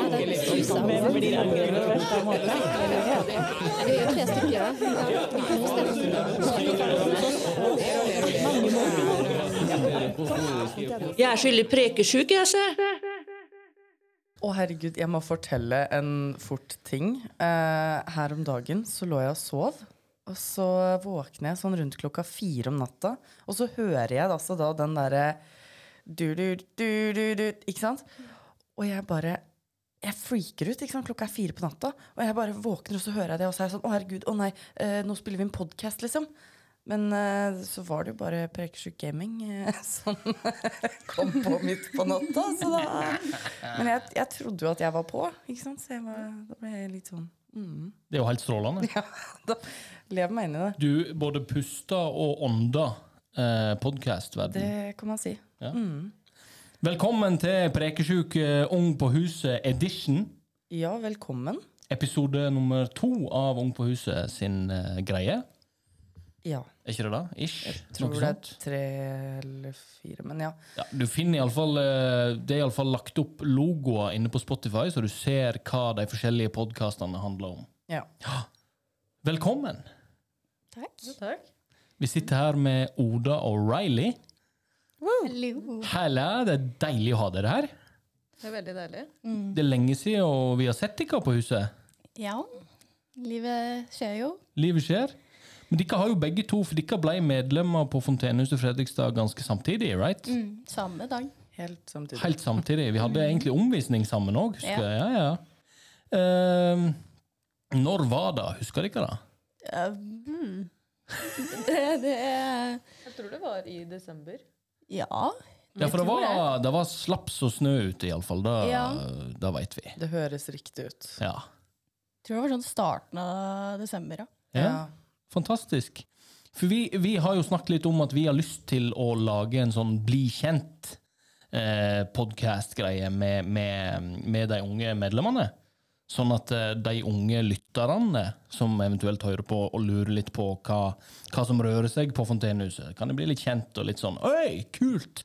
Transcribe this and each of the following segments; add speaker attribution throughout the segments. Speaker 1: Hvem blir angrepet på verste måte?
Speaker 2: Vi er jo tre stykker. Ja. Vi kan bestemme oss
Speaker 3: Jeg er skyldig prekesjuk, jeg, se.
Speaker 4: Å, herregud, jeg må fortelle en fort ting. Eh, her om dagen så lå jeg og sov. Og så våkner jeg sånn rundt klokka fire om natta, og så hører jeg altså da den derre du-du-du-du-du, ikke sant? Og jeg bare Jeg freaker ut, ikke sant? Klokka er fire på natta, og jeg bare våkner, og så hører jeg det, og så er jeg sånn Å, herregud, å nei, eh, nå spiller vi en podkast, liksom. Men eh, så var det jo bare Prekesjuk Gaming eh, som kom på midt på natta, så da men jeg, jeg trodde jo at jeg var på, ikke sant? så jeg var, da ble jeg litt sånn
Speaker 5: Det er jo helt strålende.
Speaker 4: Ja, da lever meg inn i det.
Speaker 5: Du både puster og ånder eh, podkastverden.
Speaker 4: Det kan man si.
Speaker 5: Velkommen til Prekesjuk eh, Ung på huset edition.
Speaker 4: Ja, velkommen.
Speaker 5: Episode nummer to av Ung på huset sin eh, greie.
Speaker 4: Ja.
Speaker 5: Er ikke det da? Ish?
Speaker 4: Tror det
Speaker 5: Noe
Speaker 4: er
Speaker 5: sånt?
Speaker 4: tre eller fire, men ja.
Speaker 5: Ja, du finner i alle fall, eh, Det er iallfall lagt opp logoer inne på Spotify, så du ser hva de forskjellige podkastene handler om.
Speaker 4: ja.
Speaker 5: Velkommen!
Speaker 2: Takk.
Speaker 5: Vi sitter her med Oda og Riley.
Speaker 2: Hallo.
Speaker 5: Hella, det er deilig å ha dere her.
Speaker 6: Det er veldig deilig.
Speaker 4: Mm.
Speaker 5: Det er lenge siden og vi har sett dere på huset.
Speaker 6: Ja. Livet skjer jo.
Speaker 5: Livet skjer. Men dere har jo begge to, for dere ble medlemmer på Fontenehuset Fredrikstad ganske samtidig, right?
Speaker 6: Mm, samme dag.
Speaker 4: Helt sånn samtidig.
Speaker 5: Helt samtidig. Vi hadde egentlig omvisning sammen òg, husker
Speaker 6: Ja.
Speaker 5: jeg. Ja, ja. Ehm, når var det? Husker dere det?
Speaker 6: Ja, mm. det, det er
Speaker 7: Jeg tror det var i desember.
Speaker 6: Ja.
Speaker 5: Ja, for det
Speaker 6: tror
Speaker 5: var, det var slaps og snø ute, iallfall. Det,
Speaker 6: Ja.
Speaker 5: det veit vi.
Speaker 4: Det høres riktig ut.
Speaker 5: Ja.
Speaker 6: Jeg tror det var sånn starten av desember, ja.
Speaker 5: ja. Fantastisk. For vi, vi har jo snakket litt om at vi har lyst til å lage en sånn bli kjent eh, podkast-greie med, med, med de unge medlemmene. Sånn at eh, de unge lytterne som eventuelt hører på og lurer litt på hva, hva som rører seg på Fontenehuset, kan de bli litt kjent og litt sånn Oi, kult!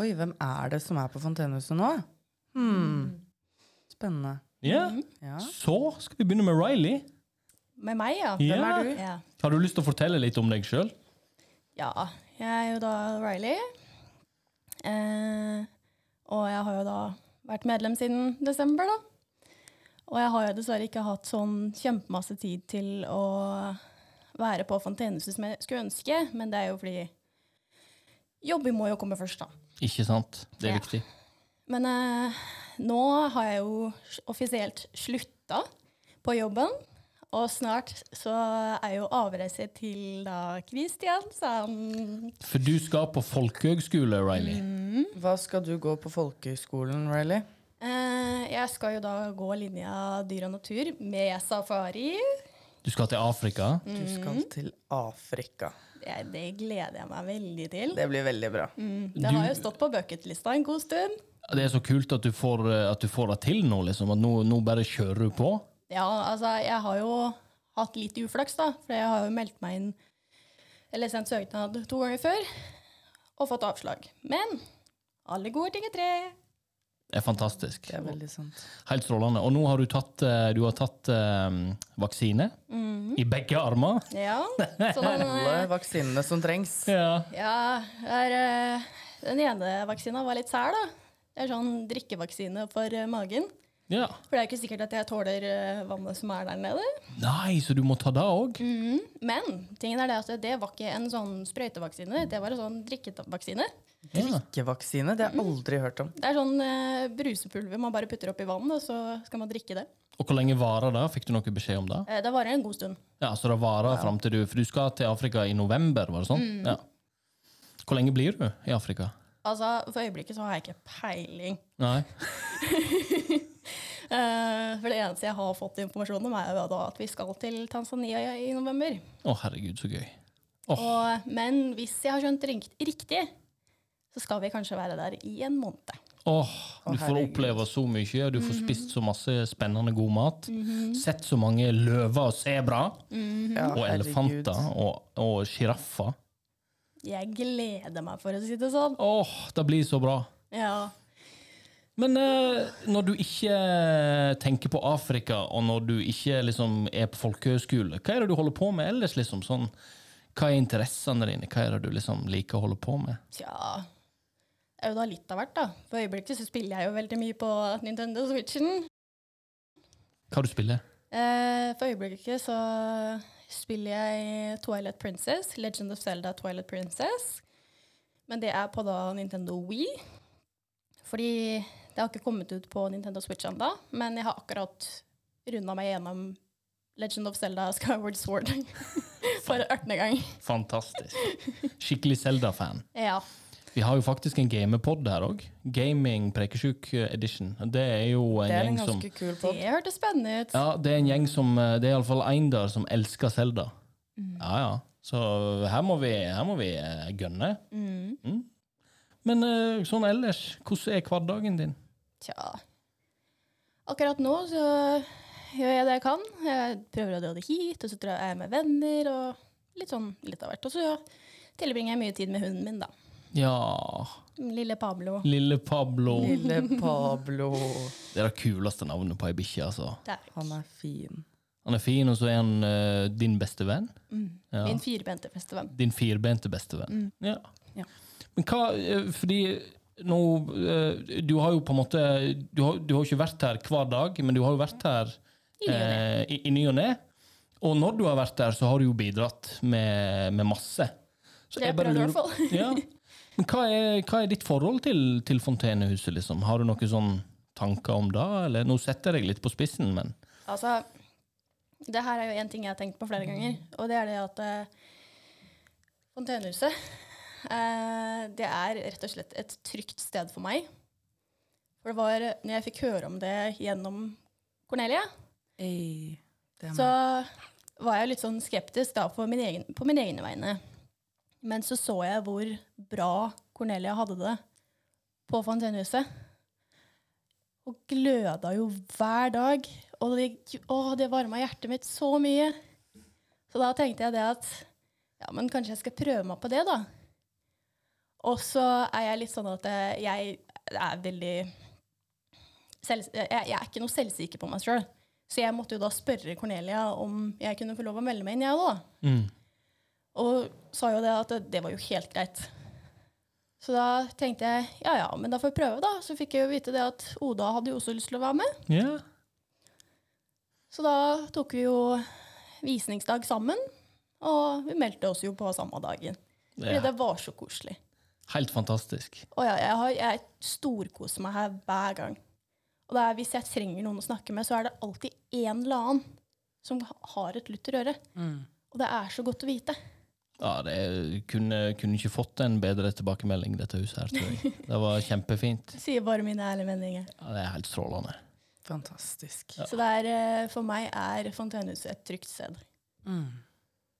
Speaker 4: Oi, hvem er det som er på Fontenehuset nå? Hmm. Spennende.
Speaker 5: Ja.
Speaker 4: Ja.
Speaker 5: Så skal vi begynne med Riley.
Speaker 6: Med meg, ja.
Speaker 5: Hvem Ja. er du?
Speaker 6: Ja.
Speaker 5: Har du lyst til å fortelle litt om deg sjøl?
Speaker 6: ja. Jeg er jo da Riley. Eh, og jeg har jo da vært medlem siden desember, da. Og jeg har jo dessverre ikke hatt sånn kjempemasse tid til å være på Fontenehuset som jeg skulle ønske, men det er jo fordi jobber må jo komme først, da.
Speaker 5: Ikke sant? Det er
Speaker 6: Ja.
Speaker 5: viktig.
Speaker 6: Men eh, nå har jeg jo s- offisielt slutta på jobben. Og snart så er jo avreise til da Kristiansand.
Speaker 5: For du skal på folkehøgskole, Riley.
Speaker 4: Hva skal du gå på folkehøyskolen, Riley?
Speaker 6: Eh, jeg skal jo da gå linja dyr og natur med safari.
Speaker 5: Du skal til Afrika.
Speaker 4: Du skal til Afrika.
Speaker 6: Det, det gleder jeg meg veldig til.
Speaker 4: Det blir veldig bra.
Speaker 6: Det har jo stått på bucketlista en god stund.
Speaker 5: Det er så kult at du får, eh, at du får det til nå, liksom. At nå, nå bare kjører du på.
Speaker 6: Ja, altså, jeg har jo hatt litt uflaks, da. For jeg har jo meldt meg inn Eller sendt søknad to ganger før og fått avslag. Men alle gode ting er tre.
Speaker 5: Det er fantastisk.
Speaker 4: Det er veldig sant.
Speaker 5: Helt strålende. Og nå har du tatt, eh, du har tatt eh, vaksine i begge armer.
Speaker 6: Ja. Sånn,
Speaker 4: Alle vaksinene som trengs.
Speaker 5: Ja.
Speaker 6: ja er, eh, den ene vaksina var litt sær, da. Det er sånn drikkevaksine for eh, magen.
Speaker 5: ja.
Speaker 6: For det er jo ikke sikkert at jeg tåler eh, vannet som er der nede.
Speaker 5: Nei, så du må ta det òg?
Speaker 6: Men tingen er det at det var ikke en sånn sprøytevaksine, det var en sånn drikkevaksine.
Speaker 5: Ja.
Speaker 4: Ikke-vaksine, det har jeg aldri hørt om.
Speaker 6: Det er sånn eh, brusepulver man bare putter oppi vann, og så skal man drikke det.
Speaker 5: Og hvor lenge varer det? Fikk du noe beskjed om det?
Speaker 6: Eh, det varer en god stund.
Speaker 5: Ja, Så det varer fram til du For du skal til Afrika i november, var det sånn? Ja. Hvor lenge blir du i Afrika?
Speaker 6: Altså, For øyeblikket så har jeg ikke peiling.
Speaker 5: Nei.
Speaker 6: Eh, for det eneste jeg har fått informasjon om, er jo da at vi skal til Tanzania i november.
Speaker 5: Å, herregud, så gøy. Åh,
Speaker 6: Og, men hvis jeg har skjønt ringt riktig, så skal vi kanskje være der i en måned.
Speaker 5: Åh, du får
Speaker 4: herregud.
Speaker 5: oppleve så mye, du får spist så masse spennende god mat, sett så mange løver og sebra,
Speaker 4: Ja,
Speaker 5: og
Speaker 4: herregud.
Speaker 5: elefanter og, og giraffer.
Speaker 6: Jeg gleder meg, for å si det sånn.
Speaker 5: Åh, det blir så bra.
Speaker 6: Ja.
Speaker 5: Men eh, når du ikke tenker på Afrika, og når du ikke liksom, er på folkehøyskole, hva er det du holder på med ellers? Liksom, sånn, hva er interessene dine? Hva er det du liksom, liker å holde på med?
Speaker 6: Tja Det er jo da litt av hvert, da. For øyeblikket så spiller jeg jo veldig mye på Nintendo Switchen.
Speaker 5: Hva du spiller?
Speaker 6: Eh, for øyeblikket så spiller jeg Twilight Princess, Legend of Zelda Twilight Princess. Men det er på da Nintendo Wii. Fordi det har ikke kommet ut på Nintendo Switch ennå, men jeg har akkurat runda meg gjennom Legend of Zelda Skyward Sword for 18. gang.
Speaker 5: Fantastisk. Skikkelig Zelda-fan.
Speaker 6: Ja.
Speaker 5: Vi har jo faktisk en gamepod her òg. Gaming Prekesjuk Edition. Det er jo en
Speaker 4: Det er en
Speaker 5: gjeng som
Speaker 4: ganske kul
Speaker 6: Det
Speaker 4: pod.
Speaker 6: hørtes spennende ut.
Speaker 5: Ja, det er en gjeng som eh, Det er iallfall én der som elsker Selda.
Speaker 4: Mm.
Speaker 5: Ja, ja. Så eh, her må vi, her må vi eh, gønne. Mm. Men eh, sånn ellers, hvordan er hverdagen din?
Speaker 6: Tja Akkurat nå så gjør jeg det jeg kan. Jeg prøver å dra det hit, og så drar jeg med venner og litt sånn litt av hvert. Og så tilbringer jeg mye tid med hunden min, da.
Speaker 5: Ja,
Speaker 6: Lille Pablo.
Speaker 5: lille Pablo.
Speaker 4: Lille Pablo.
Speaker 5: Det er det kuleste navnet på ei bikkje, altså.
Speaker 6: Der.
Speaker 4: Han er fin.
Speaker 5: Han er fin, og så er han eh, din beste venn.
Speaker 4: Mm.
Speaker 5: Ja.
Speaker 6: Min firbente bestevenn.
Speaker 5: Din firbente
Speaker 6: Mm.
Speaker 5: bestevenn. Ja.
Speaker 4: Ja.
Speaker 5: Men hva eh, Fordi nå eh, Du har jo på en måte Du har, du har jo ikke vært her hver dag, men du har jo vært her
Speaker 6: I ny og ne.
Speaker 5: eh, i, i ny og ne. Og når du har vært der, så har du jo bidratt med, med masse. Så
Speaker 6: Det
Speaker 5: jeg bare
Speaker 6: prøver jeg i
Speaker 5: lurer-
Speaker 6: hvert fall.
Speaker 5: ja. Men hva er, hva er ditt forhold til, til Fontenehuset, liksom? Har du noen sånn tanker om det? Eller, nå setter jeg deg litt på spissen, men
Speaker 6: Altså, det her er jo en ting jeg har tenkt på flere ganger, og det er det at eh, Fontenehuset eh, Det er rett og slett et trygt sted for meg. For det var når jeg fikk høre om det gjennom Cornelia,
Speaker 4: Ei, det er
Speaker 6: så
Speaker 4: meg.
Speaker 6: var jeg litt sånn skeptisk da på, min egen, på mine egne vegne. Men så så jeg hvor bra Cornelia hadde det på Fontenehuset. Og gløda jo hver dag. Og det, å, det varma hjertet mitt så mye. Så da tenkte jeg det at ja, men kanskje jeg skal prøve meg på det, da. Og så er jeg litt sånn at eh, jeg er veldig selv, jeg, jeg er ikke noe selvsikker på meg sjøl. Så jeg måtte jo da spørre Cornelia om jeg kunne få lov å melde meg inn, jeg òg. Og sa jo det at det var jo helt greit. Så da tenkte jeg ja ja, men da får jeg prøve, da. Så fikk jeg jo vite det at Oda hadde jo også lyst til å være med.
Speaker 5: ja.
Speaker 6: Så da tok vi jo visningsdag sammen. Og vi meldte oss jo på samme dagen. Fordi
Speaker 5: Ja.
Speaker 6: det var så koselig.
Speaker 5: Helt fantastisk.
Speaker 6: Og ja, jeg, har, jeg storkoser meg her hver gang. Og det er, hvis jeg trenger noen å snakke med, så er det alltid en eller annen som har et lutter øre. Og det er så godt å vite.
Speaker 5: Ja, det er- kunne, kunne ikke fått en bedre tilbakemelding, dette huset her, tror jeg. Det var kjempefint.
Speaker 6: Sier bare mine ærlige meninger.
Speaker 5: Ja, det er helt strålende.
Speaker 4: Fantastisk.
Speaker 6: Så det er, eh, for meg er Fontenehuset et trygt sted. Det,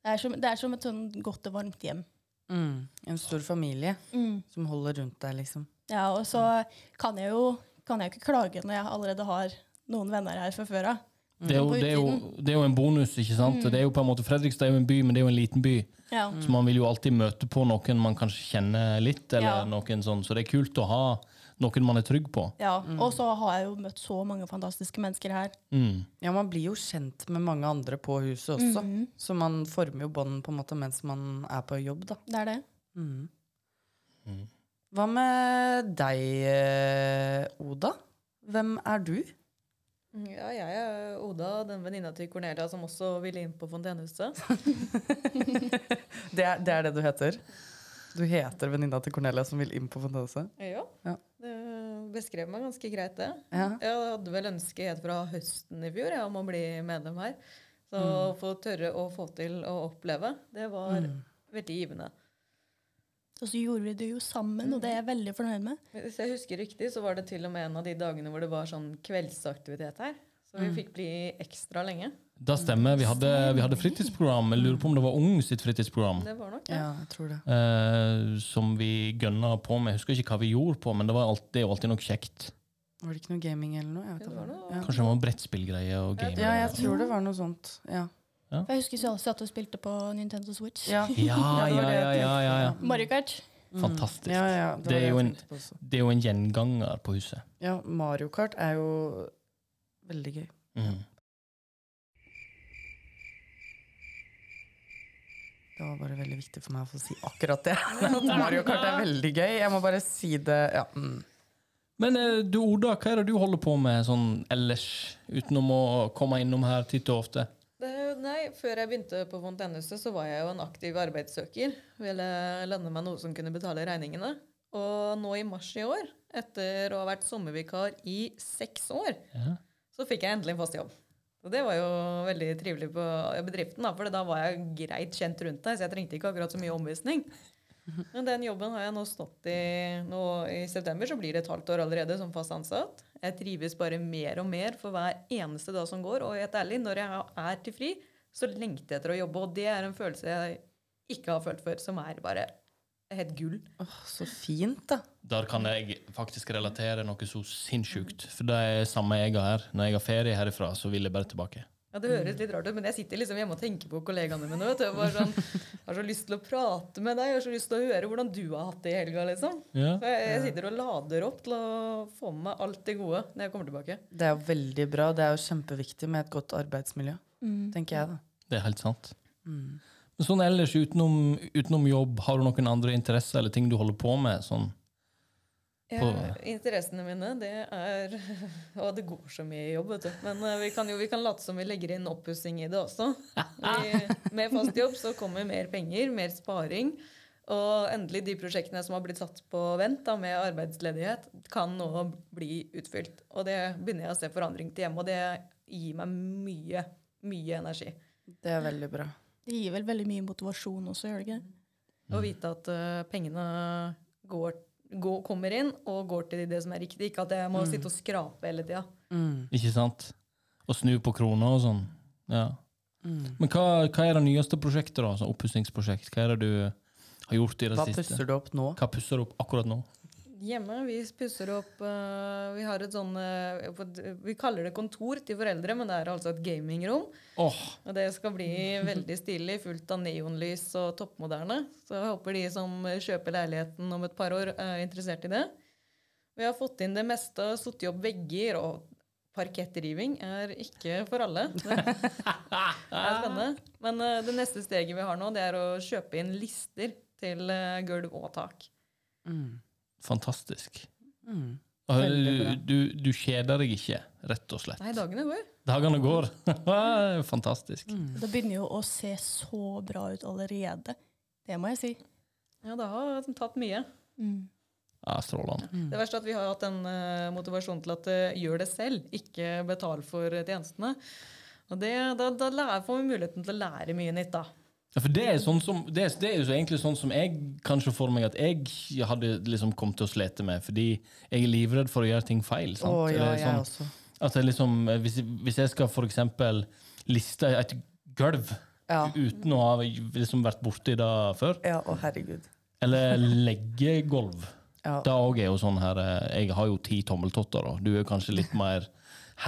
Speaker 6: er som, det er som et sånn godt og varmt hjem.
Speaker 4: Mm. En stor familie
Speaker 6: Mm.
Speaker 4: som holder rundt deg, liksom.
Speaker 6: Ja, og så kan jeg jo kan jeg jo ikke klage når jeg allerede har noen venner her fra før av.
Speaker 4: Mm.
Speaker 5: Det er, jo,
Speaker 6: På
Speaker 5: det, er jo, det er jo en bonus, ikke sant? Det er jo på en måte, Fredrikstad er jo en by, men det er jo en liten by.
Speaker 6: Ja.
Speaker 4: Mm.
Speaker 5: Så man vil jo alltid møte på noen man kanskje kjenner litt, eller
Speaker 6: Ja.
Speaker 5: noen sånn. Så det er kult å ha noen man er trygg på.
Speaker 6: Ja, Og så har jeg jo møtt så mange fantastiske mennesker her.
Speaker 5: Mm.
Speaker 4: Ja, man blir jo kjent med mange andre på huset også, så man former jo bånd på en måte mens man er på jobb, da. Mm.
Speaker 6: Det er det.
Speaker 4: Hva med deg, eh, Oda? Hvem er du?
Speaker 7: Ja, jeg er Oda, den venninna til Cornelia som også ville inn på Fontenehuset.
Speaker 4: Det er det, er det du heter? Du heter venninna til Cornelia som vil inn på Fontenese?
Speaker 7: Ja,
Speaker 4: Ja.
Speaker 7: det beskrev meg ganske greit, det.
Speaker 4: Ja.
Speaker 7: Jeg hadde vel ønsket helt fra høsten i fjor jeg, om å bli medlem her. Så å
Speaker 4: Mm.
Speaker 7: få tørre å få til å oppleve, det var veldig givende.
Speaker 6: Og så gjorde vi det jo sammen, og det er jeg veldig fornøyd med.
Speaker 7: Hvis jeg husker riktig, så var det til og med en av de dagene hvor det var sånn kveldsaktivitet her. Så
Speaker 4: Mm.
Speaker 7: vi fikk bli ekstra lenge.
Speaker 5: Da stemmer. Vi hadde, vi hadde fritidsprogram. Jeg lurer på om det var Ung sitt fritidsprogram.
Speaker 7: Det var nok det.
Speaker 4: Ja, jeg tror det.
Speaker 5: eh, som vi gønna på med. Jeg husker ikke hva vi gjorde på, men det, var alt, det er jo alltid noe kjekt.
Speaker 4: Var det ikke noe gaming eller noe? Jeg vet
Speaker 7: Det
Speaker 4: ikke hva
Speaker 7: var
Speaker 4: det
Speaker 7: noe-
Speaker 4: var. Ja.
Speaker 5: Kanskje det var brettspillgreier og gaming.
Speaker 4: ja, jeg tror det var noe sånt. Ja.
Speaker 6: For jeg husker vi satt og spilte på Nintendo Switch.
Speaker 4: Ja.
Speaker 5: Ja,
Speaker 4: det
Speaker 5: ja,
Speaker 4: var det
Speaker 5: ja,
Speaker 4: jeg Mm.
Speaker 5: ja, ja, ja.
Speaker 6: Mario Kart.
Speaker 5: Fantastisk.
Speaker 4: Ja, ja,
Speaker 5: det,
Speaker 4: det, var
Speaker 5: er jo
Speaker 4: jeg
Speaker 5: en,
Speaker 4: tenkte på også.
Speaker 5: det er jo en gjenganger på huset.
Speaker 4: Ja, Mario Kart er jo veldig gøy.
Speaker 5: Mm.
Speaker 4: Det var bare veldig viktig for meg å få si akkurat det. At Mario Kart er veldig gøy. Jeg må bare si det. Ja. Mm.
Speaker 5: Men eh, du Oda, hva er det du holder på med sånn ellers, utenom å komme innom her titt og ofte?
Speaker 7: Det, nei, Før jeg begynte på Fontenehuset, så var jeg jo en aktiv arbeidssøker. Ville lønne meg noe som kunne betale regningene. Og nå i mars i år, etter å ha vært sommervikar i seks år,
Speaker 5: Ja.
Speaker 7: så fikk jeg endelig en fast jobb. Og det var jo veldig trivelig på bedriften, da, for da var jeg greit kjent rundt der, så jeg trengte ikke akkurat så mye omvisning. Men den jobben har jeg nå stått i nå i september, så blir det et halvt år allerede som fast ansatt. Jeg trives bare mer og mer for hver eneste dag som går, og helt ærlig, når jeg er til fri, så lengter jeg etter å jobbe, og det er en følelse jeg ikke har følt før, som er bare helt gull.
Speaker 4: Åh, så fint, da.
Speaker 5: Der kan jeg faktisk relatere noe så sinnssykt. For det er samme jeg har her. Når jeg har ferie herifra, så vil jeg bare tilbake.
Speaker 7: Ja, Det høres litt rart ut, men jeg sitter liksom hjemme og tenker på kollegaene mine. vet du. Jeg bare sånn, har så lyst til å prate med deg, jeg har så lyst til å høre hvordan du har hatt det i helga. liksom.
Speaker 5: Ja.
Speaker 7: Så jeg, jeg sitter og lader opp til å få med meg alt det gode når jeg kommer tilbake.
Speaker 4: Det er jo veldig bra. Det er jo kjempeviktig med et godt arbeidsmiljø, tenker jeg, da.
Speaker 5: Det er helt sant.
Speaker 4: Mm.
Speaker 5: Men sånn ellers, utenom, utenom jobb, har du noen andre interesser eller ting du holder på med? Sånn.
Speaker 7: Ja,
Speaker 5: På-
Speaker 7: interessene mine, det er Å, det går så mye jobb, vet du. Men eh, vi kan jo vi kan late som vi legger inn oppussing i det også. Vi, med fast jobb så kommer mer penger, mer sparing. Og endelig de prosjektene som har blitt satt på vent da, med arbeidsledighet, kan nå bli utfylt. Og det begynner jeg å se forandring til hjemme, og det gir meg mye, mye energi.
Speaker 4: Det er veldig bra.
Speaker 6: Det gir vel veldig mye motivasjon også, gjør det ikke?
Speaker 7: Å vite at eh, pengene går, går, kommer inn og går til det som er riktig. Ikke at jeg må sitte og skrape hele tida.
Speaker 4: Mm.
Speaker 5: Ikke sant? Og snu på kroner og sånn. Ja.
Speaker 4: Mm.
Speaker 5: Men hva, hva er det nyeste prosjektet, da? Sånn Oppussingsprosjekt? Hva er det du har gjort i det
Speaker 4: Hva
Speaker 5: siste?
Speaker 4: pusser du opp nå?
Speaker 5: Hva pusser du opp akkurat nå?
Speaker 7: Hjemme, vi pusser opp eh, Vi har et sånn eh, på d- Vi kaller det kontor til foreldre, men det er altså et gamingrom.
Speaker 5: Åh,
Speaker 7: Og det skal bli veldig stilig, fullt av neonlys og toppmoderne. Så jeg håper de som kjøper leiligheten om et par år, er interessert i det. Vi har fått inn det meste, satt opp vegger, og parkettriving er ikke for alle. Det er spennende. Men eh, det neste steget vi har nå, det er å kjøpe inn lister til eh, gulv og tak.
Speaker 5: fantastisk.
Speaker 4: Mm.
Speaker 5: Og
Speaker 4: Veldig
Speaker 5: Du,
Speaker 4: bra.
Speaker 5: du, du kjeder deg ikke, rett og slett.
Speaker 7: Nei, dagene går.
Speaker 5: Dagene går. fantastisk.
Speaker 4: Mm.
Speaker 6: Det begynner jo å se så bra ut allerede. Det må jeg si.
Speaker 7: Ja, det har liksom tatt mye.
Speaker 6: Mm.
Speaker 5: Ja, Strålende.
Speaker 4: Mm.
Speaker 7: Det verste er at vi har hatt den eh, motivasjonen til at eh, gjør det selv, ikke betal for eh, tjenestene. Og det, da, da lærer, får vi muligheten til å lære mye nytt, da.
Speaker 5: Ja, for det er, sånn som, det, er, det er jo så egentlig sånn som jeg kanskje for meg at jeg hadde liksom kommet til å slete med, fordi jeg er livredd for å gjøre ting feil.
Speaker 4: Å
Speaker 5: sant?
Speaker 4: ja,
Speaker 5: Eller
Speaker 4: jeg
Speaker 5: sånn,
Speaker 4: også.
Speaker 5: at jeg liksom, eh, hvis, hvis jeg skal for eksempel liste et gulv
Speaker 4: Ja.
Speaker 5: uten å ha liksom vært borti det før,
Speaker 4: Ja, å herregud.
Speaker 5: eller legge gulv
Speaker 4: Ja.
Speaker 5: Da òg er jo sånn her eh, Jeg har jo ti tommeltotter, og du er kanskje litt mer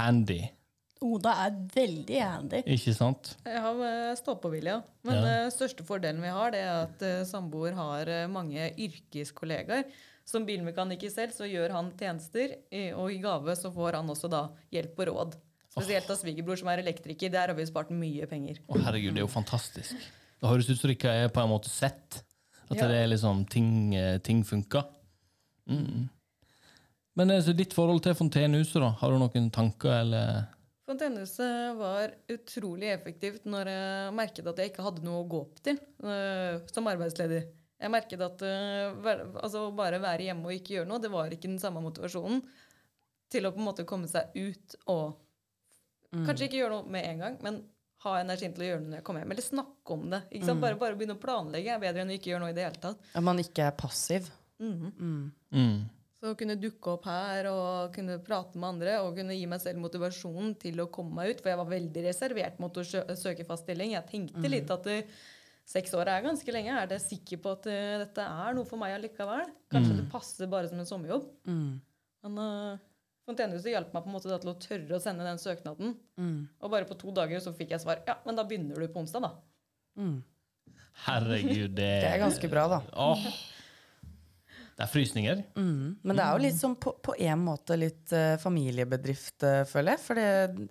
Speaker 5: handy,
Speaker 6: Oda er veldig handy.
Speaker 5: ikke sant?
Speaker 7: Jeg har eh, stå-på-vilja. Men
Speaker 5: Ja.
Speaker 7: den største fordelen vi har, det er at eh, samboer har eh, mange yrkeskollegaer. Som bilmekaniker selv så gjør han tjenester, i- og i gave så får han også da hjelp og råd. Spesielt av svigerbror, som er elektriker. Der har vi spart mye penger.
Speaker 5: Å, herregud, det er jo fantastisk. Det høres ut som dere er på en måte sett. At det er liksom ting, eh, ting funker. Mm. Men eh, så ditt forhold til Fontenehuset, da? Har du noen tanker, eller
Speaker 7: Fontenehuset eh, var utrolig effektivt når jeg merket at jeg ikke hadde noe å gå opp til øh, som arbeidsleder. Jeg merket at øh, hver- altså, å bare være hjemme og ikke gjøre noe, det var ikke den samme motivasjonen til å på en måte komme seg ut og Kanskje ikke gjøre noe med en gang, men ha energien til å gjøre noe når jeg kommer hjem. Eller snakke om det. Ikke sant? Bare, bare begynne å planlegge er bedre enn å ikke gjøre noe i det hele tatt.
Speaker 4: At man ikke er passiv.
Speaker 5: mm.
Speaker 7: Så å kunne dukke opp her og kunne prate med andre og kunne gi meg selv motivasjonen til å komme meg ut. For jeg var veldig reservert mot å sjø søke fast stilling. Jeg tenkte litt at eh, seks år er ganske lenge. Er jeg sikker på at eh, dette er noe for meg allikevel? Kanskje det passer bare som en sommerjobb?
Speaker 4: Mm.
Speaker 7: Men eh, Fontenehuset hjalp meg på en måte da til å tørre å sende den søknaden.
Speaker 4: Mm.
Speaker 7: Og bare på to dager så fikk jeg svar. Ja, men da begynner du på
Speaker 4: Mm.
Speaker 7: onsdag, da.
Speaker 5: Herregud, det
Speaker 4: Det er ganske bra, da.
Speaker 5: Åh, Det er frysninger.
Speaker 4: Men det er jo litt sånn på, på en måte litt eh, familiebedrift, eh, føler jeg. Fordi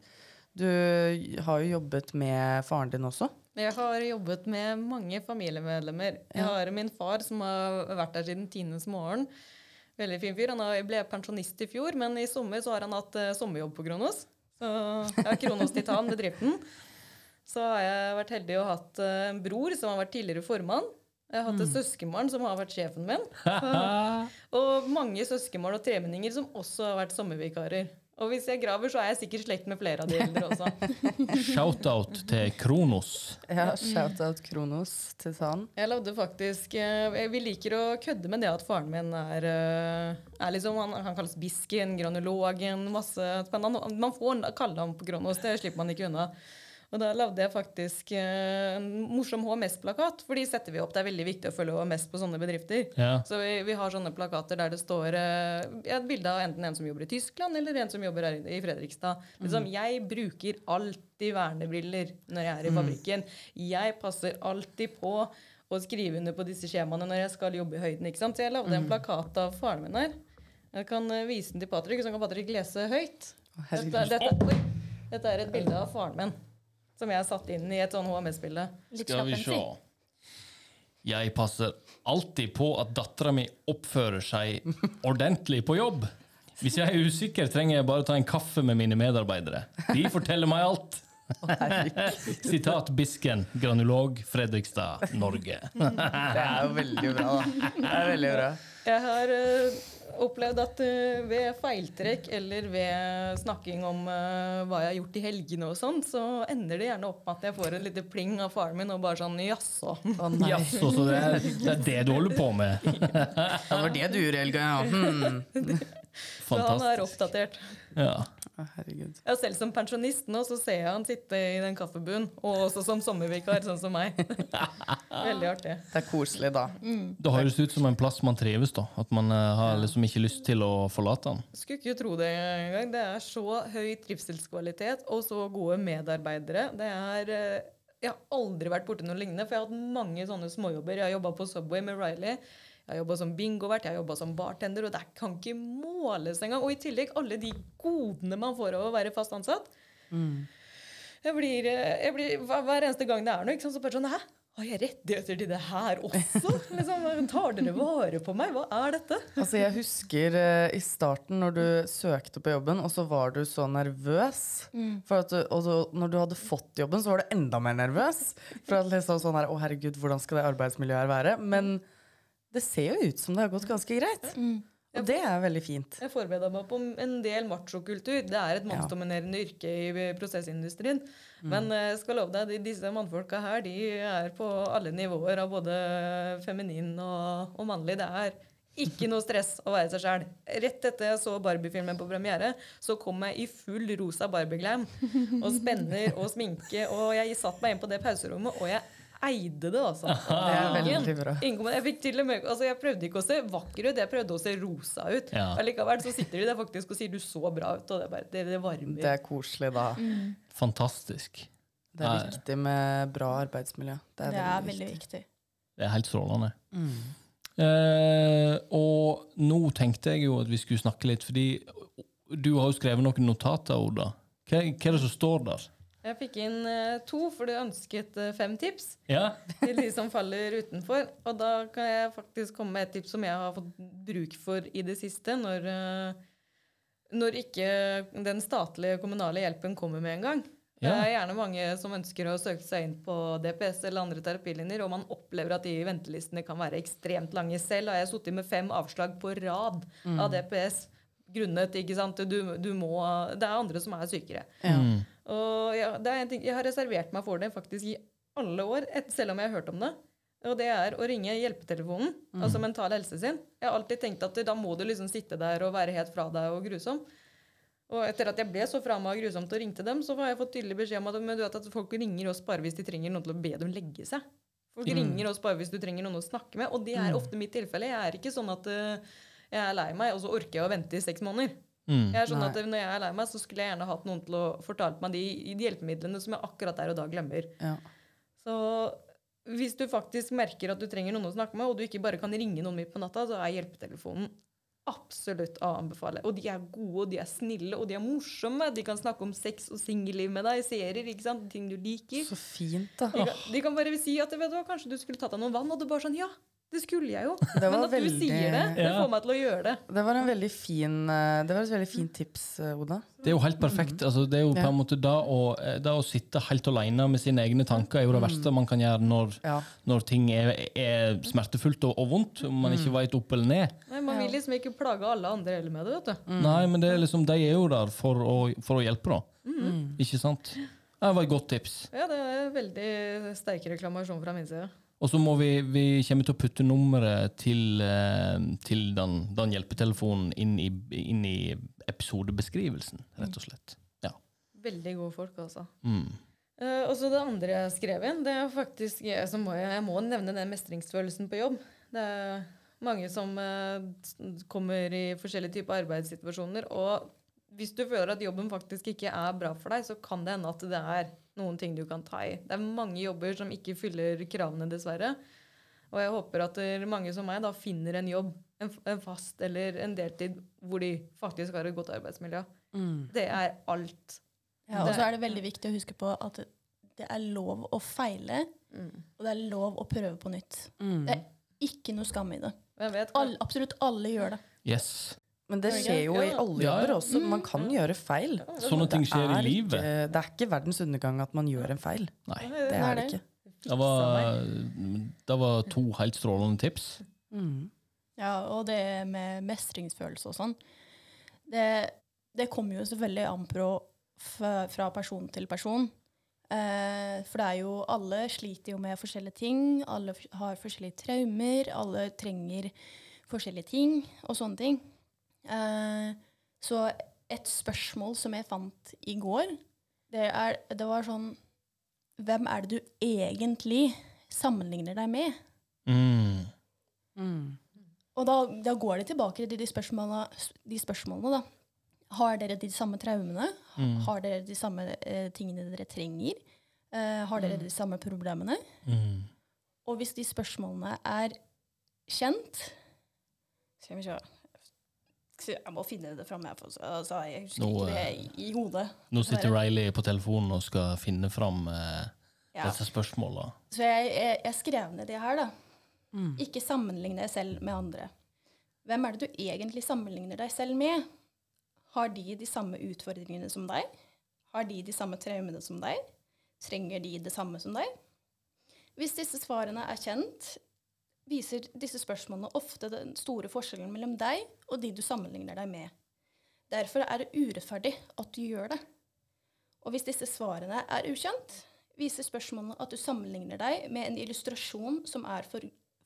Speaker 4: du har jo jobbet med faren din også.
Speaker 7: Jeg har jobbet med mange familiemedlemmer. Jeg har min far som har vært der siden tidenes morgen. Veldig fin fyr. Han har- ble pensjonist i fjor, men i sommer så har han hatt eh, sommerjobb på Kronos. Så jeg har Kronos Titan, bedriften. Så har jeg vært heldig og hatt eh, en bror som har vært tidligere formann. Jeg har hatt et søskenbarn som har vært sjefen min. Så- Og mange søskenbarn og tremenninger som også har vært sommervikarer. Og hvis jeg graver, så er jeg sikkert slekt med flere av de eldre også.
Speaker 5: Shout-out til Kronos.
Speaker 4: Ja, Shout-out Kronos til San.
Speaker 7: Jeg lagde faktisk eh, Vi liker å kødde med det at faren min er, eh, er liksom, han, han kalles Bisken, granologen, masse spennende. Han- Man får kalle ham på Kronos, det slipper man ikke unna. Og da lagde jeg faktisk eh, en morsom HMS-plakat, for de setter vi opp. Det er veldig viktig å følge HMS på sånne bedrifter.
Speaker 5: Ja.
Speaker 7: Så vi, vi har sånne plakater der det står eh, et bilde av enten en som jobber i Tyskland, eller en som jobber her i Fredrikstad. Liksom, Jeg bruker alltid vernebriller når jeg er i fabrikken. Jeg passer alltid på å skrive under på disse skjemaene når jeg skal jobbe i høyden. ikke sant? Så jeg lagde en plakat av faren min her. Jeg kan eh, vise den til Patrick, så kan Patrick lese høyt. Dette,
Speaker 4: herregud.
Speaker 7: dette, oi, dette er et bilde av faren min som jeg satte inn i et sånn HMS-bilde.
Speaker 6: Litt
Speaker 5: Skal vi
Speaker 6: slapp
Speaker 5: se.
Speaker 6: MC.
Speaker 5: Jeg passer alltid på at dattera mi oppfører seg ordentlig på jobb. Hvis jeg er usikker, trenger jeg bare ta en kaffe med mine medarbeidere. De forteller meg alt. Sitat Bisken, granulog, Fredrikstad, Norge.
Speaker 4: Det er jo veldig bra, da. Det er veldig bra.
Speaker 7: Jeg har eh, opplevd at eh, ved feiltrekk eller ved snakking om eh, hva jeg har gjort i helgene og sånn, så ender det gjerne opp med at jeg får et lite pling av faren min og bare sånn jaså.
Speaker 4: Å nei,
Speaker 5: Jaså, så det er, det er det du holder på med?
Speaker 4: det var det du gjorde, Helga. Ja. Hmm.
Speaker 7: Så han er
Speaker 5: Fantastisk.
Speaker 7: oppdatert.
Speaker 5: Ja.
Speaker 4: Å, herregud.
Speaker 7: Ja, selv som pensjonist nå, så ser jeg han sitte i den kaffebuen, og også som sommervikar, sånn som meg. Veldig artig.
Speaker 4: Det er koselig, da.
Speaker 5: Det høres ut som en plass man trives, da. At man eh, har liksom ikke lyst til å forlate den.
Speaker 7: Skulle ikke tro det engang. Det er så høy trivselskvalitet og så gode medarbeidere. Det er eh, Jeg har aldri vært borti noe lignende, for jeg har hatt mange sånne småjobber. Jeg har jobba på Subway med Riley. Jeg har jobba som bingovert, jeg har jobba som bartender, og det kan ikke måles engang. Og i tillegg alle de godene man får av å være fast ansatt. Jeg blir, eh, jeg blir hver, hver eneste gang det er noe, ikke sant, så bare sånn Hæ? Har jeg rettigheter til det her også? Liksom, tar dere vare på meg? Hva er dette?
Speaker 4: Altså, jeg husker eh, i starten når du søkte på jobben, og så var du så nervøs.
Speaker 6: Mm.
Speaker 4: For at du, og så, når du hadde fått jobben, så var du enda mer nervøs. For at liksom sånn her, Å, herregud, hvordan skal det arbeidsmiljøet her være? Men det ser jo ut som det har gått ganske greit.
Speaker 6: Mm.
Speaker 4: Og det er veldig fint.
Speaker 7: Jeg forbereda meg på en del machokultur. Det er et mannsdominerende yrke i prosessindustrien.
Speaker 4: Mm.
Speaker 7: Men eh, jeg skal love deg, de- disse mannfolka her de er på alle nivåer av både feminin og, og mannlig. Det er ikke noe stress å være seg sjæl. Rett etter jeg så Barbie-filmen på premiere, så kom jeg i full rosa Barbie-glam og spenner og sminke. Og jeg satt meg inn på det pauserommet, og jeg eide det, altså.
Speaker 4: Det er veldig bra.
Speaker 7: Ingen- Jeg, fikk til og med, altså jeg prøvde ikke å se vakker ut, jeg prøvde å se rosa ut.
Speaker 5: Ja.
Speaker 7: Allikevel så sitter de der faktisk og sier 'du så bra ut', og det, er bare, det, det varmer.
Speaker 4: Det er koselig, da.
Speaker 6: Mm.
Speaker 5: Fantastisk.
Speaker 4: Det er viktig med bra arbeidsmiljø. Det er
Speaker 6: Det er
Speaker 4: veldig
Speaker 6: veldig
Speaker 4: viktig.
Speaker 6: viktig.
Speaker 5: Det er helt strålende. Eh, og nå tenkte jeg jo at vi skulle snakke litt, fordi du har jo skrevet noen notater, Oda. Hva, hva er det som står der?
Speaker 7: Jeg fikk inn eh, to, for du ønsket eh, fem tips
Speaker 5: Ja?
Speaker 7: til de som faller utenfor. Og da kan jeg faktisk komme med et tips som jeg har fått bruk for i det siste, når, eh, når ikke den statlige kommunale hjelpen kommer med en gang. Det
Speaker 5: Ja.
Speaker 7: er gjerne mange som ønsker å søke seg inn på DPS eller andre terapilinjer, og man opplever at de ventelistene kan være ekstremt lange. Selv har jeg sittet med fem avslag på rad av DPS grunnet ikke sant? Du, du må, Det er andre som er sykere. Og ja, det er en ting, jeg har reservert meg for det faktisk i alle år, et, selv om jeg har hørt om det. Og det er å ringe hjelpetelefonen, altså Mental Helse sin. Jeg har alltid tenkt at da må du liksom sitte der og være helt fra deg og grusom. Og etter at jeg ble så fra meg og grusomt og ringte dem, så har jeg fått tydelig beskjed om at, men du vet at folk ringer oss bare hvis de trenger noen til å be dem legge seg. Folk ringer oss bare hvis du trenger noen å snakke med, og det er ofte mitt tilfelle. Jeg er ikke sånn at eh, jeg er lei meg, og så orker jeg å vente i seks måneder.
Speaker 5: Mm.
Speaker 7: Jeg er sånn at Når jeg er lei meg, så skulle jeg gjerne hatt noen til å fortalt meg de, de hjelpemidlene som jeg akkurat der og da glemmer.
Speaker 4: Ja.
Speaker 7: Så hvis du faktisk merker at du trenger noen å snakke med, og du ikke bare kan ringe noen midt på natta, så er hjelpetelefonen absolutt å anbefale. Og de er gode, og de er snille, og de er morsomme. De kan snakke om sex og singelliv med deg, serier, ikke sant? ting du liker.
Speaker 4: Så fint, da.
Speaker 7: De kan, de kan bare si at vet du, hva, kanskje du skulle tatt deg noen vann, og du bare sånn Ja, det skulle jeg jo.
Speaker 4: var
Speaker 7: Men at du
Speaker 4: veldig-
Speaker 7: sier det, det
Speaker 5: Ja.
Speaker 7: får meg til å gjøre det.
Speaker 4: Det var, en veldig fin, eh, det var et veldig fint tips, eh, Oda.
Speaker 5: Det er jo helt perfekt. Altså, det er jo på
Speaker 4: Ja.
Speaker 5: en måte da å, eh, da å sitte helt alene med sine egne tanker er jo det verste man kan gjøre når,
Speaker 4: Ja.
Speaker 5: når ting er, er smertefullt og, og vondt, om man ikke veit opp eller ned.
Speaker 7: Nei, man vil liksom ikke plage alle andre heller med det,
Speaker 4: Mm.
Speaker 7: vet du.
Speaker 5: Nei, men det er liksom, de er jo der for å, for å hjelpe, da.
Speaker 4: Mm.
Speaker 5: Ikke sant? Det var et godt tips.
Speaker 7: Ja, det er veldig sterk reklamasjon fra min side.
Speaker 5: Og så må vi, vi kommer til å putte nummeret til, eh, til den, den hjelpetelefonen inn i, inn i episodebeskrivelsen, rett og slett. Ja.
Speaker 7: Veldig gode folk, altså.
Speaker 5: Mm.
Speaker 7: Eh, og så det andre jeg skrev inn, det er faktisk jeg, så må jeg, jeg må nevne den mestringsfølelsen på jobb. Det er mange som eh, s- kommer i forskjellige typer arbeidssituasjoner. Og hvis du føler at jobben faktisk ikke er bra for deg, så kan det hende at det er noen ting du kan ta i. Det er mange jobber som ikke fyller kravene, dessverre. Og jeg håper at der- mange som meg da finner en jobb, en, f- en fast eller en deltid, hvor de faktisk har et godt arbeidsmiljø. Det er alt.
Speaker 6: Ja, og så er det veldig viktig å huske på at det er lov å feile,
Speaker 4: Mm.
Speaker 6: og det er lov å prøve på nytt. Det er ikke noe skam i det.
Speaker 7: Jeg vet,
Speaker 6: Alle, absolutt alle gjør det.
Speaker 5: Yes.
Speaker 4: Men det skjer jo i alle
Speaker 5: Ja, Mm, ja.
Speaker 4: jobber også. Man kan gjøre feil.
Speaker 5: Sånne ting skjer i
Speaker 4: ikke,
Speaker 5: livet.
Speaker 4: Mm. det er ikke verdens undergang at man gjør en feil.
Speaker 5: Nei.
Speaker 4: Det er det
Speaker 6: det.
Speaker 4: ikke.
Speaker 5: Det var, det var to helt strålende tips. Mm,
Speaker 6: Ja, og det med mestringsfølelse og sånn, det, det kommer jo selvfølgelig an på f- fra person til person. Eh, for det er jo alle sliter jo med forskjellige ting, alle f- har forskjellige traumer, alle trenger forskjellige ting og sånne ting. Eh, så et spørsmål som jeg fant i går, det, er, det var sånn Hvem er det du egentlig sammenligner deg med?
Speaker 5: Mm.
Speaker 6: Og da, da går det tilbake til de spørsmålene, de spørsmålene da. Har dere de samme traumene? Har dere de samme eh, tingene dere trenger? Eh, har dere de samme problemene?
Speaker 5: Mm.
Speaker 6: Og hvis de spørsmålene er kjent Skal vi se Skal- Jeg må finne det fram, jeg, for så- altså, jeg husker
Speaker 5: Nå,
Speaker 6: ikke det i hodet.
Speaker 5: Nå sitter Riley på telefonen og skal finne fram eh,
Speaker 6: Ja.
Speaker 5: disse spørsmåla.
Speaker 6: Så jeg, jeg, jeg skrev ned det her, da. Ikke sammenligne deg selv med andre. Hvem er det du egentlig sammenligner deg selv med? Har de de samme utfordringene som deg? Har de de samme traumene som deg? Trenger de det samme som deg? Hvis disse svarene er kjent, viser disse spørsmålene ofte den store forskjellen mellom deg og de du sammenligner deg med. Derfor er det urettferdig at du gjør det. Og hvis disse svarene er ukjent, viser spørsmålene at du sammenligner deg med en illustrasjon som er for,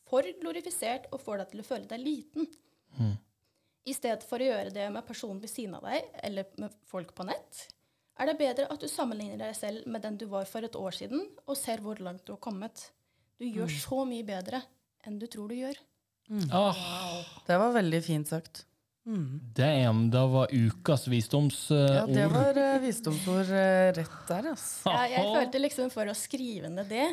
Speaker 6: for glorifisert og får deg til å føle deg liten. I stedet for å gjøre det med personen ved siden av deg eller med folk på nett, er det bedre at du sammenligner deg selv med den du var for et år siden, og ser hvor langt du har kommet. Du gjør så mye bedre enn du tror du gjør.
Speaker 5: Ah,
Speaker 4: Det var veldig fint sagt. Mm.
Speaker 5: damn, det var ukas visdomsord.
Speaker 4: Ja, det var eh, visdomsord eh, rett der, ass.
Speaker 6: Jeg, jeg følte liksom for å skrive ned det,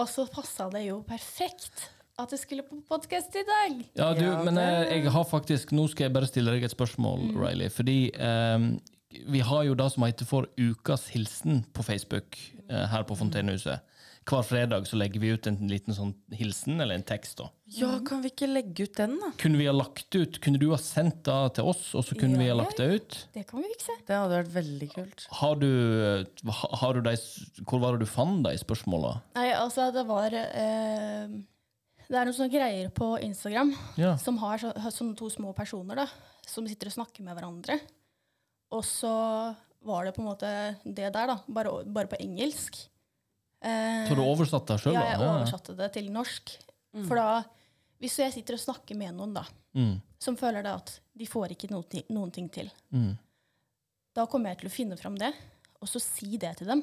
Speaker 6: og så passa det jo perfekt at jeg skulle på podkast i dag.
Speaker 5: Ja, du,
Speaker 4: Ja,
Speaker 5: men eh, jeg har faktisk Nå skal jeg bare stille deg et spørsmål, Riley. Fordi eh, vi har jo det som heter for Ukas hilsen på Facebook eh, her på Fontenehuset. Hver fredag så legger vi ut en liten sånn hilsen, eller en tekst. da.
Speaker 4: Ja, kan vi ikke legge ut den, da?
Speaker 5: Kunne vi ha lagt ut, kunne du ha sendt det til oss, og så kunne
Speaker 6: Ja,
Speaker 5: vi ha
Speaker 6: ja,
Speaker 5: lagt det ut?
Speaker 6: Det kan vi fikse.
Speaker 4: Det hadde vært veldig kult.
Speaker 5: Har du, eh, ha- har du de, s- Hvor var det du fant de spørsmåla?
Speaker 6: Nei, altså, det var eh, Det er noen sånne greier på Instagram
Speaker 5: Ja.
Speaker 6: som har, så, har sånne to små personer da, som sitter og snakker med hverandre. Og så var det på en måte det der, da, bare, bare på engelsk. Eh,
Speaker 5: Så du oversatte det sjøl?
Speaker 6: ja, jeg oversatte det til norsk. For da, hvis jeg sitter og snakker med noen da,
Speaker 5: Mm.
Speaker 6: som føler da at de får ikke noen, ti- noen ting til,
Speaker 5: Mm.
Speaker 6: da kommer jeg til å finne fram det, og så si det til dem.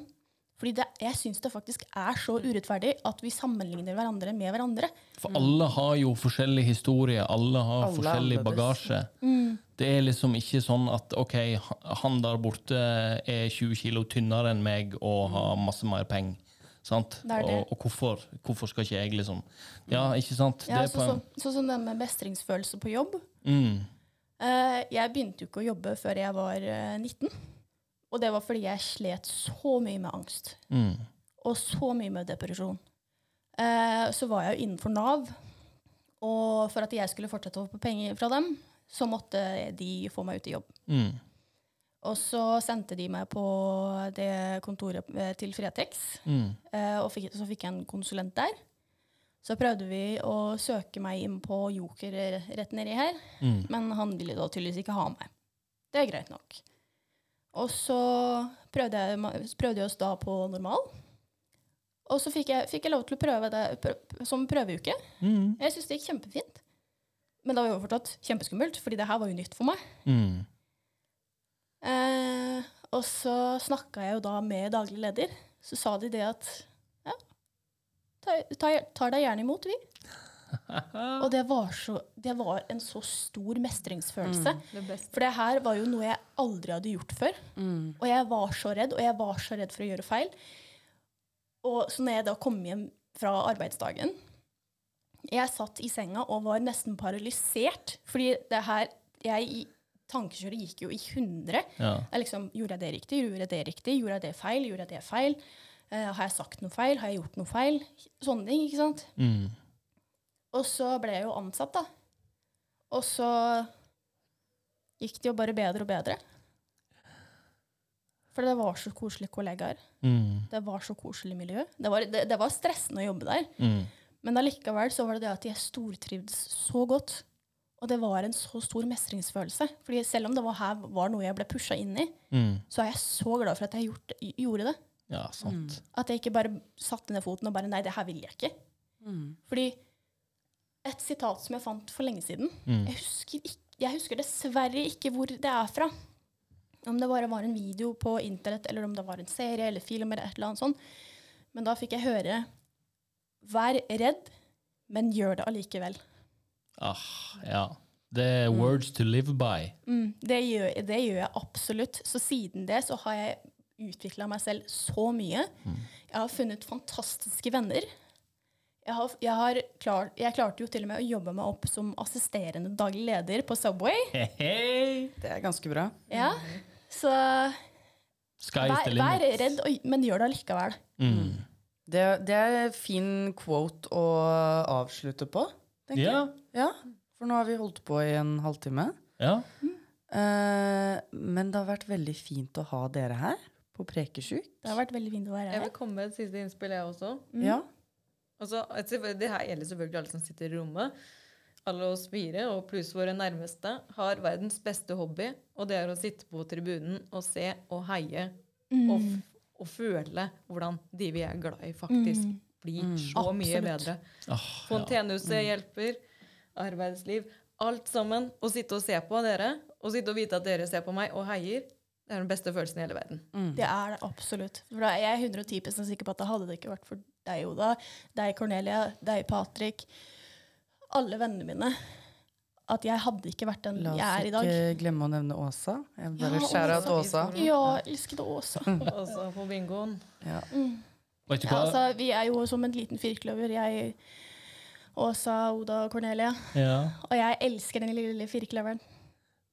Speaker 6: Fordi det, jeg syns det faktisk er så urettferdig at vi sammenligner hverandre med hverandre.
Speaker 5: For alle har jo forskjellig historie, alle har
Speaker 4: Alle er
Speaker 5: forskjellig
Speaker 4: annerledes.
Speaker 5: bagasje.
Speaker 6: Mm.
Speaker 5: Det er liksom ikke sånn at ok, han der borte er 20 kilo tynnere enn meg og har masse mer penger. Sant?
Speaker 6: Det er det.
Speaker 5: Og, og hvorfor, hvorfor skal ikke jeg liksom Ja, ikke sant?
Speaker 6: Ja,
Speaker 5: Det er på
Speaker 6: sånn
Speaker 5: en-
Speaker 6: som sånn som det med mestringsfølelse på jobb.
Speaker 5: mm,
Speaker 6: Eh, jeg begynte jo ikke å jobbe før jeg var eh, 19. Og det var fordi jeg slet så mye med angst
Speaker 5: mm,
Speaker 6: og så mye med depresjon. Eh, så var jeg jo innenfor Nav, og for at jeg skulle fortsette å få penger fra dem, så måtte de få meg ut i jobb.
Speaker 5: mm,
Speaker 6: Og så sendte de meg på det kontoret eh, til Fretex,
Speaker 5: mm,
Speaker 6: eh, og fikk, så fikk jeg en konsulent der. Så prøvde vi å søke meg inn på Joker rett nedi her,
Speaker 5: mm.
Speaker 6: men han ville da tydeligvis ikke ha meg. Det er greit nok. Og så prøvde jeg, ma- prøvde jeg oss da på normal. Og så fikk jeg, fikk jeg lov til å prøve det prø- som prøveuke.
Speaker 5: Mm.
Speaker 6: Jeg syntes det gikk kjempefint. Men det var jo fortsatt kjempeskummelt, fordi det her var jo nytt for meg.
Speaker 5: Mm.
Speaker 6: Eh, og så snakka jeg jo da med daglig leder. Så sa de det at ja, tar, tar, tar deg gjerne imot, vi. Og det var, så, det var en så stor mestringsfølelse.
Speaker 7: Det beste.
Speaker 6: For det her var jo noe jeg aldri hadde gjort før. Og jeg var så redd, og jeg var så redd for å gjøre feil. Og så når jeg da kom hjem fra arbeidsdagen Jeg satt i senga og var nesten paralysert. Fordi det her jeg i Tankekjøret gikk jo i hundre.
Speaker 5: Ja.
Speaker 6: Jeg liksom, gjorde jeg det riktig? Gjorde jeg det riktig? Gjorde jeg det feil? Gjorde jeg det feil? Eh, har jeg sagt noe feil? Har jeg gjort noe feil? Sånne ting, ikke sant?
Speaker 5: Mm.
Speaker 6: Og så ble jeg jo ansatt, da. Og så gikk det jo bare bedre og bedre. For det var så koselige kollegaer.
Speaker 5: Mm.
Speaker 6: Det var så koselig miljø. Det var, det, det var stressende å jobbe der.
Speaker 5: Mm.
Speaker 6: Men allikevel så var det det at jeg stortrivdes så godt. Og det var en så stor mestringsfølelse. Fordi selv om det var her var noe jeg ble pusha inn i,
Speaker 5: Mm.
Speaker 6: så er jeg så glad for at jeg gjort, gjorde det.
Speaker 5: Ja, sant.
Speaker 6: At jeg ikke bare satte ned foten og bare Nei, det her vil jeg ikke. Fordi et sitat som jeg fant for lenge siden
Speaker 5: Mm.
Speaker 6: jeg, husker ikk- jeg husker dessverre ikke hvor det er fra. Om det bare var en video på internett, eller om det var en serie eller film. eller et eller annet sånt. Men da fikk jeg høre Vær redd, men gjør det allikevel.
Speaker 5: Ah, ja. Det er words to live by.
Speaker 6: Mm, det, gjør, det gjør jeg absolutt. Så siden det så har jeg utvikla meg selv så mye. Jeg har funnet fantastiske venner. Jeg, har, jeg, har klar, jeg klarte jo til og med å jobbe meg opp som assisterende daglig leder på Subway.
Speaker 5: Hei, hei!
Speaker 4: Det er ganske bra.
Speaker 6: Ja. Så
Speaker 5: Sky's
Speaker 6: vær,
Speaker 5: the
Speaker 6: vær
Speaker 5: limit.
Speaker 6: redd, og, men gjør det allikevel.
Speaker 5: Mm.
Speaker 4: Det, det er en fin quote å avslutte på, tenker
Speaker 5: Ja.
Speaker 4: jeg. Ja, for nå har vi holdt på i en halvtime.
Speaker 5: ja.
Speaker 4: Eh, men det har vært veldig fint å ha dere her på Prekesjuk.
Speaker 6: Det har vært veldig fint å være
Speaker 7: Jeg
Speaker 6: her.
Speaker 7: vil komme med et siste innspill, jeg også.
Speaker 5: Mm.
Speaker 4: Ja.
Speaker 7: Altså, et- det her gjelder selvfølgelig alle som sitter i rommet. Alle oss fire, og pluss våre nærmeste, har verdens beste hobby, og det er å sitte på tribunen og se og heie
Speaker 6: Mm.
Speaker 7: og, f- og føle hvordan de vi er glad i, faktisk blir så mye
Speaker 6: Absolutt.
Speaker 7: bedre.
Speaker 5: Ah, ja.
Speaker 7: Fontenehuset hjelper, arbeidsliv Alt sammen. Å sitte og se på dere, og sitte og vite at dere ser på meg og heier, det er den beste følelsen i hele verden.
Speaker 5: Mm.
Speaker 6: Det er det absolutt. For da er jeg 110 sikker på at det hadde det ikke vært for deg, Oda, deg, Cornelia, deg, Patrick, alle vennene mine, at jeg hadde ikke vært den
Speaker 4: La
Speaker 6: jeg er
Speaker 4: oss
Speaker 6: i dag.
Speaker 4: ikke glemme å nevne Åsa. Jeg vil bare
Speaker 6: Ja,
Speaker 4: skjære ut Åsa.
Speaker 7: Åsa.
Speaker 6: Ja, jeg elsket Åsa.
Speaker 5: Mm.
Speaker 7: Og så på bingoen.
Speaker 5: Vet du
Speaker 6: Ja,
Speaker 5: hva?
Speaker 6: altså, vi er jo som en liten firkløver, jeg, Åsa, Oda og Cornelia.
Speaker 5: Ja.
Speaker 6: Og jeg elsker den lille, lille firkløveren.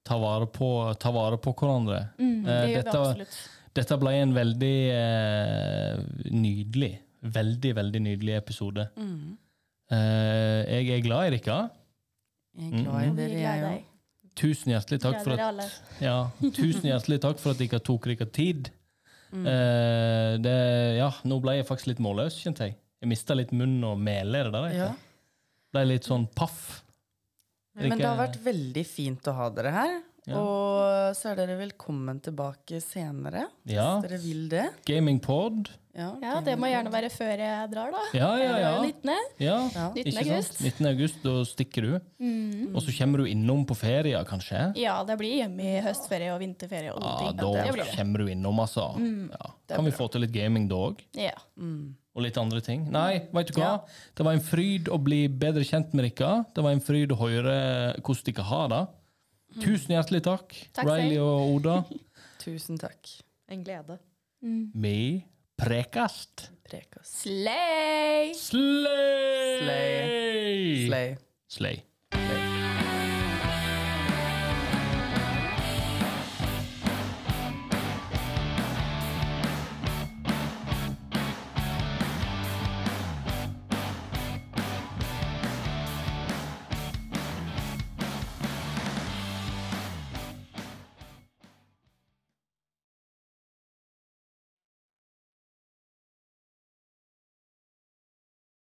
Speaker 5: Ta vare på, ta vare på hverandre.
Speaker 6: Mm, det
Speaker 5: Eh,
Speaker 6: gjør vi
Speaker 5: dette var-
Speaker 6: absolutt.
Speaker 5: Dette ble en veldig eh, nydelig, veldig, veldig nydelig episode.
Speaker 4: Mm.
Speaker 5: Eh, jeg er glad i dere.
Speaker 4: Jeg er glad i
Speaker 6: Og vi Mm. er
Speaker 4: dere,
Speaker 6: glad i
Speaker 4: jeg
Speaker 6: deg.
Speaker 4: òg.
Speaker 5: Tusen hjertelig takk
Speaker 6: Glad
Speaker 5: for
Speaker 6: dere
Speaker 5: at
Speaker 6: alle.
Speaker 5: Ja, tusen hjertelig takk for at dere tok dere tid.
Speaker 6: Mm.
Speaker 5: Eh, det, ja, nå ble jeg faktisk litt målløs, kjente jeg. Jeg mista litt munn og mele. er det der,
Speaker 4: Ja.
Speaker 5: heter? Ble litt sånn paff.
Speaker 4: Men det har vært veldig fint å ha dere her.
Speaker 5: Ja.
Speaker 4: Og så er dere velkommen tilbake senere, hvis
Speaker 5: Ja.
Speaker 4: dere vil det.
Speaker 5: Gamingpod.
Speaker 4: Ja,
Speaker 6: Ja, det må gjerne være før jeg drar, da.
Speaker 5: Ja,
Speaker 6: Jeg
Speaker 5: ja,
Speaker 6: drar jo
Speaker 5: ja.
Speaker 6: 19.
Speaker 5: ja.
Speaker 4: Ja.
Speaker 6: 19.
Speaker 5: Ikke sant?
Speaker 6: august.
Speaker 5: 19. august, da stikker du. Og så kommer du innom på ferie, kanskje.
Speaker 6: Ja, det blir hjemme i høstferie og vinterferie og
Speaker 5: Ja,
Speaker 6: noen ting. Det
Speaker 5: Ah, da
Speaker 6: blir det.
Speaker 5: kommer du innom, altså. Ja. Kan vi få til litt gaming da òg?
Speaker 6: Ja.
Speaker 5: Og litt andre ting. Nei, vet du hva? Det var en fryd å bli bedre kjent med dere. Det var en fryd å høre hvordan dere har det. Tusen hjertelig takk,
Speaker 6: Takk selv.
Speaker 5: Riley og Oda.
Speaker 4: Tusen takk.
Speaker 7: En glede.
Speaker 5: Vi Prekast.
Speaker 4: Prekas.
Speaker 6: Slay!
Speaker 5: Slay!
Speaker 4: Slay.
Speaker 5: Slay.